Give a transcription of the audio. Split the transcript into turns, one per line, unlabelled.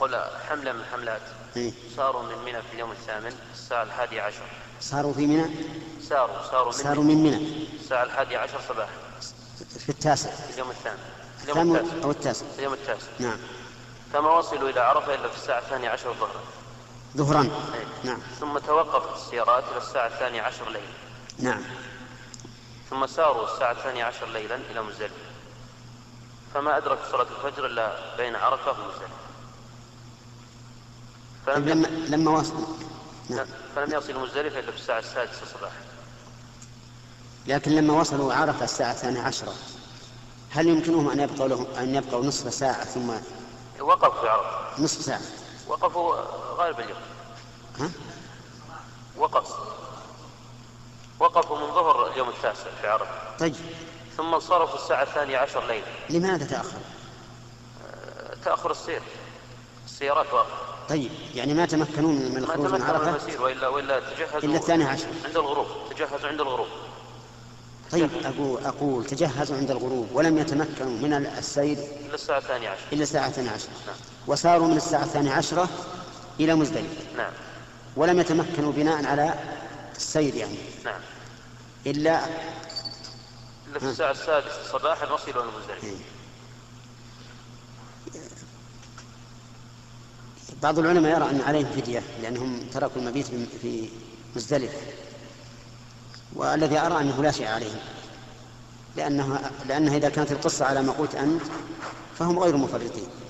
قل حملة من حملات
إيه.
ساروا من منى في اليوم الثامن الساعة الحادية عشر
صاروا في منى
ساروا ساروا من
صاروا
منى
من منى
الساعة الحادية عشر صباحا
في التاسع
في اليوم الثامن في اليوم
الثامن
التاسع
أو التاسع
في اليوم التاسع
نعم
فما وصلوا إلى عرفة إلا في الساعة الثانية عشر ظهرا
ظهرا
إيه.
نعم
ثم توقفت السيارات إلى الساعة الثانية عشر ليلا
نعم
ثم ساروا الساعة الثانية عشر ليلا إلى مزدلفة فما أدركوا صلاة الفجر إلا بين عرفة ومزدلفة
طيب
فلم
لما لما وصلوا نعم
فلم يصل مزدلفة إلا في الساعة السادسة صباحا
لكن لما وصلوا عرفة الساعة الثانية عشرة هل يمكنهم أن يبقوا لهم أن يبقوا نصف ساعة ثم
وقفوا في عرفة
نصف ساعة
وقفوا غالبا اليوم
ها؟
وقف وقفوا من ظهر اليوم التاسع في عرفة
طيب
ثم انصرفوا الساعة الثانية عشر ليلا
لماذا تأخر؟
تأخر السير السيارات واقفة
طيب يعني ما تمكنوا من من
ما
الخروج
تمكنوا
من
من
عرفة
المسير وإلا وإلا تجهزوا
إلا الثانية عشر
عند الغروب تجهزوا عند الغروب
طيب أقول, أقول تجهزوا عند الغروب ولم يتمكنوا من السير
إلى الساعة الثانية عشر
إلا الساعة الثانية عشرة
نعم.
وساروا من الساعة الثانية عشرة إلى مزدلفة
نعم
ولم يتمكنوا بناء على السير يعني
نعم
إلا
إلا
نعم.
في الساعة السادسة صباحا وصلوا إلى مزدلفة
بعض العلماء يرى أن عليهم فدية لأنهم تركوا المبيت بم- في مزدلفة والذي أرى أنه لا شيء عليهم لأنها, لأنها إذا كانت القصة على ما قلت أنت فهم غير مفرطين